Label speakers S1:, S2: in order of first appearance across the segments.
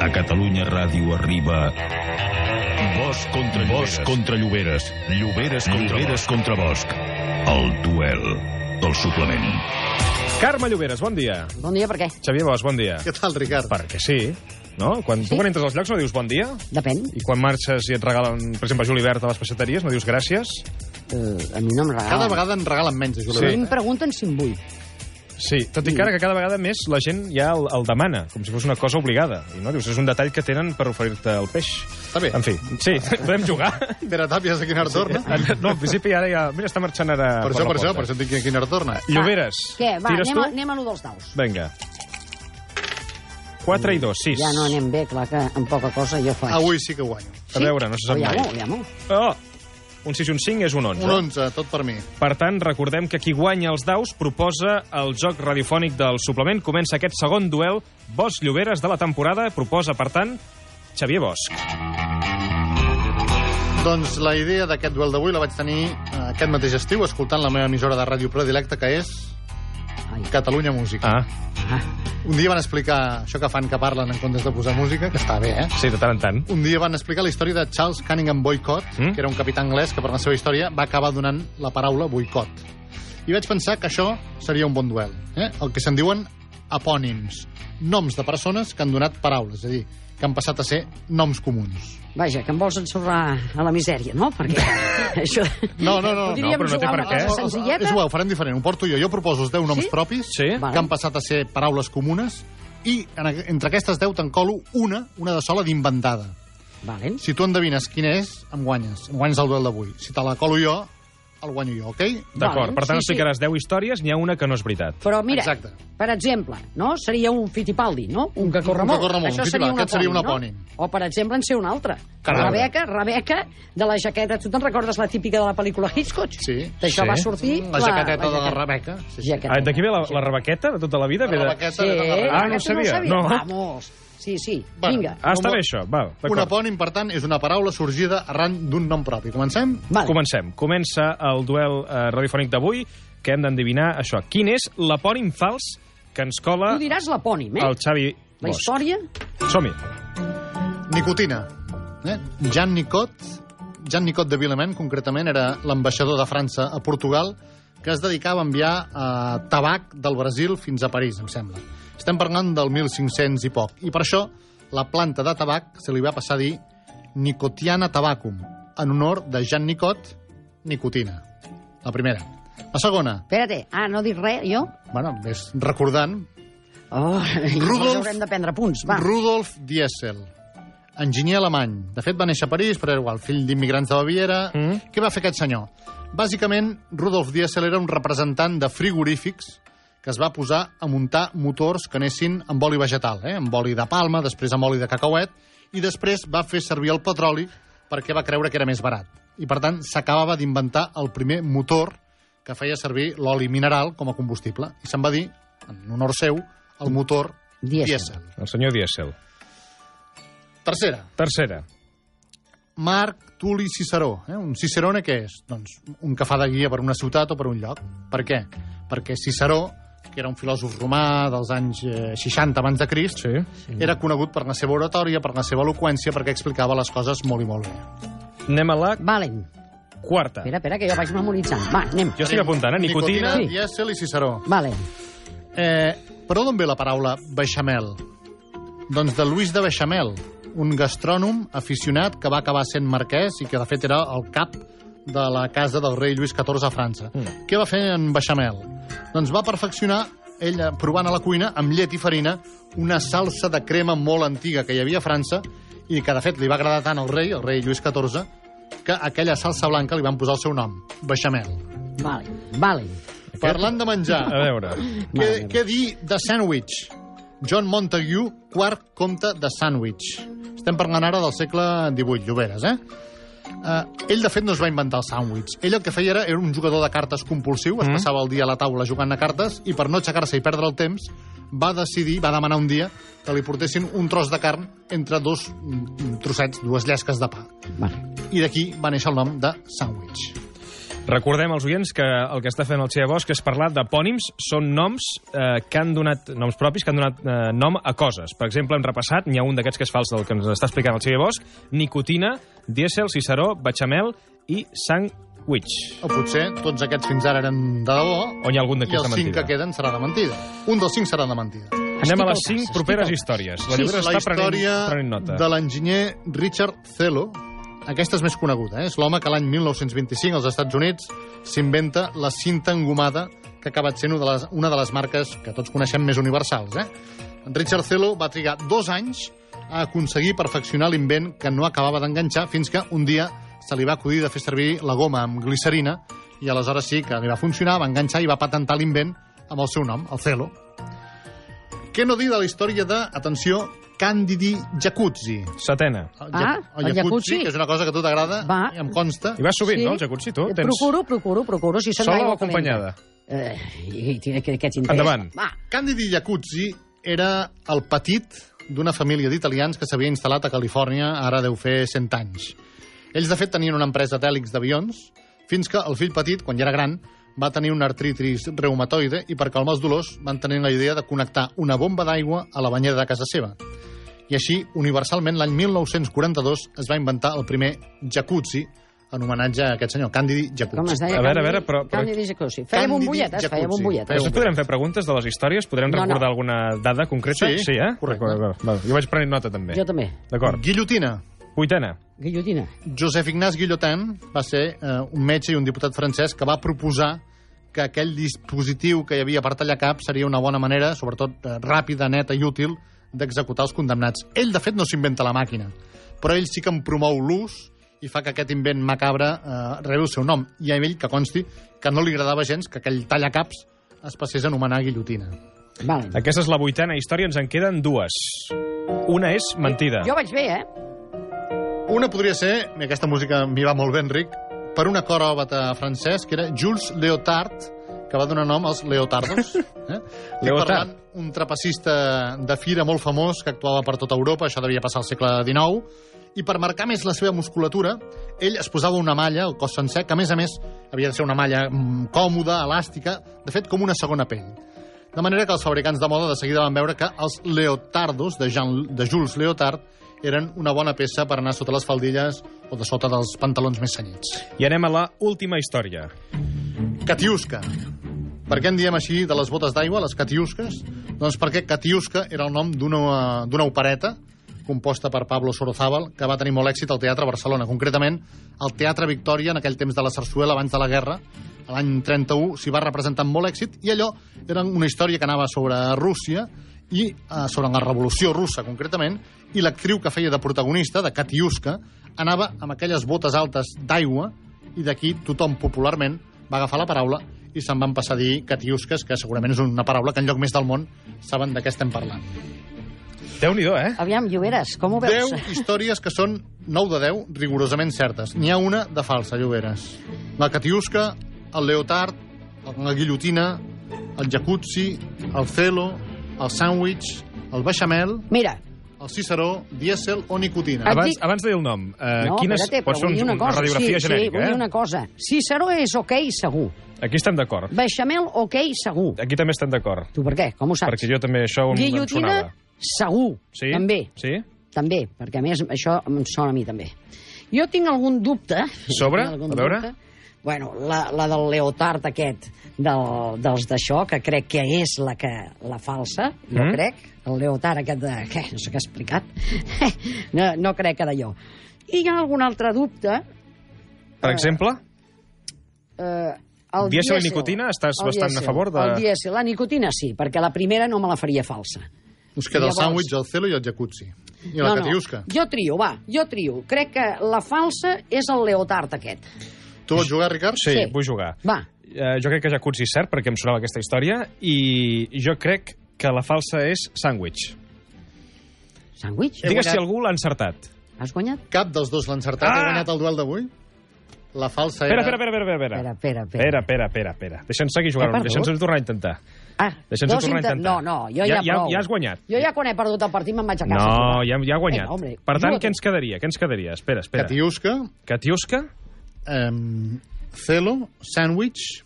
S1: A Catalunya Ràdio arriba... Bosch contra Bosch contra Lloberes. Lloberes contra, Lloberes contra Bosch. El duel del suplement.
S2: Carme Lloberes, bon dia.
S3: Bon dia, per què?
S2: Xavier Bosch, bon dia.
S4: Què tal, Ricard?
S2: Perquè sí, no? Quan, Tu quan entres als llocs no dius bon dia?
S3: Depèn.
S2: I quan marxes i et regalen, per exemple, julivert a les peixateries, no dius gràcies?
S3: Uh, a mi no em
S2: Ah.
S3: regala.
S4: Cada vegada en regalen menys, a Julivert.
S3: A mi em pregunten si en vull.
S2: Sí, tot i que ara que cada vegada més la gent ja el, el demana, com si fos una cosa obligada. I no dius, és un detall que tenen per oferir-te el peix.
S4: Està bé.
S2: En fi, sí, podem jugar.
S4: Pere Tàpies a quin hora torna?
S2: No, en principi ara ja... Mira, està marxant ara...
S4: Per això,
S2: la
S4: per això,
S2: porta.
S4: per això et dic a quina hora torna.
S2: Lloberes,
S3: Què? Va,
S2: tires
S3: anem a,
S2: tu?
S3: anem a lo dels daus.
S2: Vinga. 4 i 2, 6.
S3: Ja no anem bé, clar que amb poca cosa jo faig.
S4: Avui sí que guanyo.
S2: Ah, A veure, no se sap
S3: Aviam-ho,
S2: mai.
S3: aviam-ho.
S2: Oh! Un 6 i un 5 és un 11.
S4: Un 11, tot per mi.
S2: Per tant, recordem que qui guanya els daus proposa el joc radiofònic del suplement. Comença aquest segon duel. Bosch Lloberes de la temporada proposa, per tant, Xavier Bosch.
S4: Doncs la idea d'aquest duel d'avui la vaig tenir eh, aquest mateix estiu, escoltant la meva emissora de ràdio predilecta, que és
S3: Ai.
S4: Catalunya Música.
S2: Ah,
S3: Ah,
S4: Un dia van explicar això que fan que parlen en comptes de posar música, que està bé, eh?
S2: sí, de tant en tant.
S4: Un dia van explicar la història de Charles Cunningham Boycott,
S2: Mm.
S4: mm? que era un capità anglès que per la seva història va acabar donant la paraula boicot. I vaig pensar que això seria un bon duel. Eh? El que se'n diuen apònims, noms de persones que han donat paraules, és a dir, que han passat a ser noms comuns.
S3: vaja, que em vols ensorrar a la misèria, no? Perquè això...
S4: No, no, no.
S2: No, però
S3: Podríem
S4: Eh?
S2: no té
S3: jugar
S2: per
S3: amb
S2: què.
S3: una cosa senzilleta.
S4: És igual, ho farem diferent. Ho porto jo. Jo proposo els 10 noms propis
S2: Sí.
S4: que han passat a ser paraules comunes i en, aqu- entre aquestes 10 te'n colo una, una de sola d'inventada.
S3: Valen.
S4: Si tu endevines quina és, em guanyes. Em guanyes el duel d'avui. Si te la colo jo, el guanyo jo, ok?
S2: D'acord,
S3: Vale,
S2: per tant,
S3: sí, sí.
S2: explicaràs 10 històries, n'hi ha una que no és veritat.
S3: Però mira,
S4: Exacte.
S3: per exemple, no? seria un Fittipaldi, no? Un que corre
S4: Un que
S3: molt.
S4: corre molt,
S3: Això
S4: un
S3: seria un
S4: Fittipaldi, aquest seria un
S3: apònim, no? O, per exemple, en ser un altre.
S2: Caram.
S3: Rebeca, Rebeca, de la jaqueta. Tu te'n recordes la típica de la pel·lícula Hitchcock?
S4: Sí.
S3: D'això
S2: Sí.
S3: va sortir...
S4: La jaqueteta de la
S3: jaqueta-
S4: Rebeca. Sí, sí.
S3: jaqueta.
S2: Ah, D'aquí ve la, la rebaqueta de tota la vida?
S4: La
S2: Ve de...
S4: Rebequeta
S3: Sí,
S4: de la Rebeca.
S2: Ah, no ho
S3: que tu
S2: sabia.
S3: No,
S2: No.
S3: ho sabies? Vamos. Sí, sí,
S4: Bueno,
S3: vinga.
S2: Ah, està bé això. Va,
S4: Un
S2: d'acord.
S4: apònim, per tant, és una paraula sorgida arran d'un nom propi. Comencem?
S3: Vale.
S2: Comencem. Comença el duel eh, radiofònic d'avui, que hem d'endevinar això. Quin és l'apònim fals que ens cola
S3: Tu diràs l'apònim, eh?
S2: el Xavi
S3: La
S2: Bosch?
S3: història...
S2: Som-hi.
S4: Nicotina. Eh? Jean Nicot, Jean Nicot de Vilament, concretament, era l'ambaixador de França a Portugal, que es dedicava a enviar eh, tabac del Brasil fins a París, em sembla. Estem parlant del 1500 i poc. I per això la planta de tabac se li va passar a dir Nicotiana Tabacum, en honor de Jean Nicot, nicotina. La primera. La segona,
S3: Espera't, ah, no dic res, jo?
S4: bueno, és recordant,
S3: Oh,
S4: Rudolf-
S3: Rudolf... haurem de prendre punts, va.
S4: Rudolf Diesel, enginyer alemany. De fet, va néixer a París, però era igual, fill d'immigrants de Baviera.
S2: Mm.
S4: Mm. Què va fer aquest senyor? Bàsicament, Rudolf Diesel era un representant de frigorífics que es va posar a muntar motors que anessin amb oli vegetal, eh? amb oli de palma, després amb oli de cacauet, i després va fer servir el petroli perquè va creure que era més barat. I, per tant, s'acabava d'inventar el primer motor que feia servir l'oli mineral com a combustible. I se'n va dir, en honor seu, el motor
S3: Diesel.
S4: Diesel.
S2: El senyor Diesel.
S4: Tercera,
S2: Tercera.
S4: Marc Tuli Ciceró. Eh? Un Cicerone què és? Doncs un que fa de guia per una ciutat o per un lloc. Per què? Perquè Ciceró, que era un filòsof romà dels anys eh, 60 abans de Crist,
S2: Sí.
S4: era conegut per la seva oratòria, per la seva eloqüència, perquè explicava les coses molt i molt bé.
S2: Anem a la
S3: Valen.
S2: quarta.
S3: Espera, espera, que jo vaig memoritzant. Va, anem.
S2: Jo estic apuntant, eh? Nicotina.
S4: Nicotina Diesel i Ciceró.
S3: Valen.
S4: Eh, però d'on ve la paraula beixamel? Doncs de Luis de Beixamel, un gastrònom aficionat que va acabar sent marquès i que de fet era el cap de la casa del rei Lluís XIV a França.
S2: Mm.
S4: Mm. Què va fer en Beixamel? Doncs va perfeccionar, ell eh, provant a la cuina, amb llet i farina, una salsa de crema molt antiga que hi havia a França i que de fet li va agradar tant al rei, el rei Lluís XIV, que aquella salsa blanca li van posar el seu nom, Beixamel.
S3: Valen. Valen.
S4: Parlant de menjar...
S2: A veure.
S4: Què, què dir de Sandwich? John Montague, quart comte de Sandwich. Estem parlant ara del segle XVIII, Lloberes, eh? Uh, ell, de fet, no es va inventar el sàndwich. Ell el que feia era, era un jugador de cartes compulsiu, es passava el dia a la taula jugant a cartes, i per no aixecar-se i perdre el temps, va decidir, va demanar un dia, que li portessin un tros de carn entre dos mm, trossets, dues llesques de pa.
S3: Vale.
S4: I d'aquí va néixer el nom de sàndwich.
S2: Recordem als oients que el que està fent el Xia Bosch és parlar d'epònims, són noms eh, que han donat, noms propis, que han donat eh, nom a coses. Per exemple, hem repassat, n'hi ha un d'aquests que és fals del que ens està explicant el Xia Bosch, nicotina, dièsel, ciceró, bechamel i sandwich.
S4: O potser tots aquests fins ara eren de debò
S2: O n'hi ha algun
S4: i
S2: d'aquesta
S4: els cinc
S2: mentida.
S4: que queden serà de mentida. Un dels cinc serà de mentida.
S2: Anem a
S3: al
S2: les
S3: cas,
S2: 5
S3: estic
S2: properes
S3: al cas.
S2: històries. Doncs La
S4: Sí,
S2: llibre
S4: la
S2: està prenent,
S4: història
S2: prenent nota.
S4: de l'enginyer Richard Celo. Aquesta és més coneguda, eh? és l'home que l'any 1925 als Estats Units s'inventa la cinta engomada que ha acabat sent una de, les, una de les marques que tots coneixem més universals. Eh? En Richard Celo va trigar dos anys a aconseguir perfeccionar l'invent que no acabava d'enganxar fins que un dia se li va acudir de fer servir la goma amb glicerina i aleshores sí que li va funcionar, va enganxar i va patentar l'invent amb el seu nom, el Celo. Què no dir de la història de, atenció, Candidi Jacuzzi.
S2: Setena.
S4: El
S3: Ah,
S4: el
S3: el jacuzzi.
S4: que és una cosa que a tu t'agrada,
S3: Va.
S4: i em consta.
S2: I vas sovint,
S3: Sí.
S2: no, el jacuzzi, tu?
S3: Eh, Procuro, procuro, procuro. Si són
S2: Sola o
S3: d'aigua
S2: acompanyada?
S3: calenta. Eh, i, i, i, i, què t'interessa?
S2: Endavant.
S3: Va,
S4: Candidi Jacuzzi era el petit d'una família d'italians que s'havia instal·lat a Califòrnia, ara deu fer 100 anys. Ells, de fet, tenien una empresa d'hèlix d'avions, fins que el fill petit, quan ja era gran, va tenir una artritis reumatoide i per calmar els dolors van tenir la idea de connectar una bomba d'aigua a la banyera de casa seva. I així, universalment, l'any 1942 es va inventar el primer jacuzzi en homenatge a aquest senyor, Candidi Jacuzzi.
S3: com es deia?
S2: A veure, a
S3: Candidi-
S2: veure, però- però-
S3: Candidi Jacuzzi. Feia
S4: Candidi
S3: bombolletes, feia
S4: Jacuzzi.
S3: bombolletes.
S4: Feu-
S2: Després podrem fer preguntes de les històries? Podrem
S3: No, no.
S2: recordar alguna dada concreta?
S4: Sí,
S2: sí eh?
S4: correcte.
S2: D'acord, d'acord. Val, Jo vaig prenent nota, també.
S3: Jo també.
S2: D'acord.
S4: Guillotina.
S2: Vuitena.
S3: Guillotina.
S4: Josep Ignaz Guillotin va ser eh, un metge i un diputat francès que va proposar que aquell dispositiu que hi havia per tallar cap seria una bona manera, sobretot eh, ràpida, neta i útil, d'executar els condemnats. Ell, de fet, no s'inventa la màquina, però ell sí que en promou l'ús i fa que aquest invent macabre eh, rebi el seu nom. I a ell que consti que no li agradava gens que aquell tallacaps es passés a anomenar guillotina.
S3: Vale.
S2: Aquesta és la vuitena història, ens en queden dues. Una és mentida.
S3: Jo vaig bé, eh?
S4: Una podria ser, i aquesta música m'hi va molt ben, Enric, per un acròbata francès que era Jules Leotard, que va donar nom als Leotardos. Eh? Estic
S2: Leotard.
S4: parlant un trapacista de fira molt famós que actuava per tota Europa, això devia passar al segle XIX, i per marcar més la seva musculatura, ell es posava una malla, el cos sencer, que a més a més havia de ser una malla mm, còmoda, elàstica, de fet com una segona pell. De manera que els fabricants de moda de seguida van veure que els leotardos de, Jean, de Jules Leotard eren una bona peça per anar sota les faldilles o de sota dels pantalons més senyits.
S2: I anem a la última història.
S4: Catiusca. Per què en diem així de les botes d'aigua, les catiusques? Doncs perquè catiusca era el nom d'una eh, d'una opereta composta per Pablo Sorozábal, que va tenir molt èxit al Teatre Barcelona, concretament al Teatre Victòria, en aquell temps de la Sarsuela, abans de la guerra, l'any 31, s'hi va representar amb molt èxit, i allò era una història que anava sobre Rússia, i eh, sobre la revolució russa, concretament, i l'actriu que feia de protagonista, de Katiuska, anava amb aquelles botes altes d'aigua, i d'aquí tothom popularment va agafar la paraula i se'n van passar a dir Katiusques, que segurament és una paraula que en lloc més del món saben de què estem parlant.
S2: Déu-n'hi-do, eh?
S3: Aviam, Lloberes, com ho veus?
S4: 10 històries que són 9 de 10 rigorosament certes. N'hi ha una de falsa, Lloberes. La Catiusca, el Leotard, la Guillotina, el Jacuzzi, el Celo, el Sandwich, el Beixamel,
S3: Mira,
S4: el Ciceró, dièsel o nicotina.
S3: Ah,
S2: Abans,
S3: dic-
S2: abans de dir el nom, eh,
S3: no,
S2: quines...
S3: espérate,
S2: pot
S3: però
S2: ser
S3: vull
S2: un,
S3: dir una
S2: una
S3: cosa.
S2: radiografia
S3: sí, sí,
S2: genèrica,
S3: vull dir
S2: eh?
S3: una cosa. Ciceró és ok, segur.
S2: Aquí estem d'acord.
S3: Beixamel, ok, segur.
S2: Aquí també estem d'acord.
S3: Tu per què? Com ho saps?
S2: Perquè jo també això un, em
S3: Guillotina,
S2: sonava.
S3: segur,
S2: Sí?
S3: també.
S2: Sí?
S3: També, perquè a més això em sona a mi també. Jo tinc algun dubte...
S2: Sobre?
S3: tinc algun
S2: A veure.
S3: Bueno, la, la del leotard aquest, del, dels d'això, que crec que és la, que, la falsa, jo
S2: Mm.
S3: crec, el leotard aquest de... Què? No sé què ha explicat. no, no crec que d'allò. I hi ha algun altre dubte...
S2: Per exemple,
S3: Eh, el
S2: Dièsel i nicotina, estàs
S3: el
S2: bastant a favor de-
S3: El dièsel, la nicotina sí, perquè la primera no me la faria falsa.
S4: Us queda el
S3: Llavors-
S4: Sandwich, el Celo i el Jacuzzi. I la Catiusca.
S3: Jo trio, va, jo trio. Crec que la falsa és el leotard aquest.
S4: Tu vols jugar, Ricard?
S2: sí,
S3: sí.
S2: vull jugar.
S3: Va,
S2: Eh, jo crec que Jacuzzi és cert, perquè em sonava aquesta història, i jo crec que la falsa és sandwich.
S3: sàndwich,
S4: He
S2: Digues si
S4: guanyat.
S2: algú l'ha encertat.
S3: has guanyat?
S4: Cap dels dos l'ha encertat.
S2: Ah!
S4: Ha guanyat el duel d'avui? La falsa
S2: Espera, espera,
S4: era...
S2: espera, espera. Espera,
S3: Espera, espera, espera.
S2: espera, espera. espera, espera. Deixa'ns seguir jugant,
S3: He perdut?
S2: deixa'ns tornar a intentar.
S3: Ah,
S2: Deixa'ns-ho
S3: dos
S2: tornar a
S3: inte-
S2: intentar.
S3: No, no, jo
S2: Ja-
S3: ja,
S2: ja-
S3: prou.
S2: ja has guanyat.
S3: Jo ja quan he perdut el partit me'n vaig a casa.
S2: No, ja, ja ha guanyat.
S3: Vinga, hombre,
S2: per tant,
S3: juga-t'ho.
S2: què ens quedaria? Què ens quedaria? Espera, espera.
S4: Catiusca,
S2: Catiusca?
S4: eh, Celo, sandwich,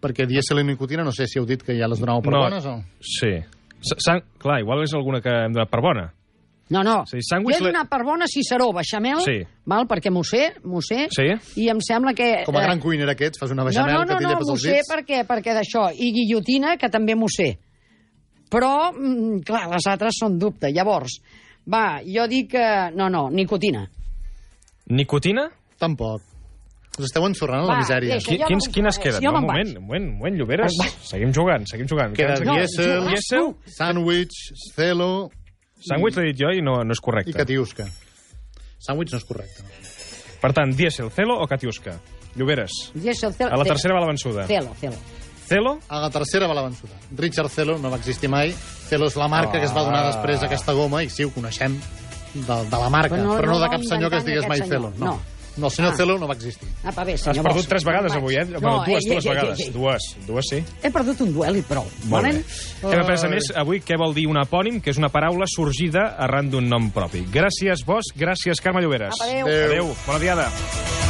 S4: perquè dièsel i nicotina, no sé si heu dit que ja les donàveu per
S2: No.
S4: bones o...
S2: Sí. S -san... Clar, igual és alguna que hem donat per bona.
S3: No, no.
S2: Sí, sàndwich
S3: Jo
S2: le-
S3: he donat per bona Ciceró, beixamel,
S2: Sí.
S3: val, perquè m'ho sé, m'ho sé,
S2: Sí.
S3: i em sembla que...
S4: Com a
S3: eh,
S4: gran cuiner aquest, fas una
S3: no,
S4: beixamel
S3: no, no,
S4: que t'hi
S3: no,
S4: llepes
S3: m'ho
S4: els
S3: sé
S4: dits.
S3: perquè, perquè d'això. I guillotina, que també m'ho sé. Però, mm, clar, les altres són dubte. Llavors, va, jo dic que... No, no, nicotina.
S2: Nicotina?
S4: Ah, Tampoc. Us esteu ensorrant a
S3: Va,
S4: la misèria.
S3: deixa.
S2: Qui,
S3: jo no
S2: quins,
S3: vull
S2: quines
S3: saber,
S2: queden?
S3: jo
S2: No, un
S3: me'n
S2: moment,
S3: vaig.
S2: un moment, un moment, Lloberes.
S3: Me'n vaig.
S2: Seguim jugant, seguim jugant.
S4: Queda
S2: Queda'n
S3: No,
S2: aquí.
S4: dièsel,
S3: jugaràs
S2: dièsel,
S4: sandwich, celo
S2: Sandwich l'he dit jo i no, no és
S4: i
S2: correcte.
S4: catiusca. Sandwich no és correcte.
S2: Per tant, dièsel, celo o catiusca? Lloberes.
S3: I això, cel...
S2: A la tercera va la vençuda.
S3: Celo, celo.
S2: Celo?
S4: A la tercera va la vençuda. Richard Celo no va existir mai. Celo és la marca
S2: Ah.
S4: que es va donar després aquesta goma, i sí, ho coneixem, de, de la marca,
S3: Però no-
S4: però no,
S3: no
S4: de
S3: va
S4: cap senyor que
S3: inventar
S4: es
S3: ni
S4: digués mai
S3: aquest
S4: Celo.
S3: senyor,
S4: No.
S3: no.
S4: no, el senyor
S3: Ah.
S4: Celo no va existir.
S3: Apa, bé,
S2: Has
S3: senyor
S2: perdut
S3: Bosch,
S2: tres vegades
S3: me'n
S2: avui,
S3: vaig.
S2: eh? Bueno, dues,
S3: eh,
S2: dues
S3: eh, eh,
S2: vegades.
S3: eh, eh,
S2: Dues, dues sí.
S3: He perdut un duel i prou.
S2: Molt bé.
S3: Volen?
S2: Hem après, a
S3: Oh.
S2: més, avui què vol dir un apònim, que és una paraula sorgida arran d'un nom propi. Gràcies, Bosch, gràcies, Carme Lloberes.
S3: Apa, adéu.
S4: Adéu.
S2: Adéu, bona diada.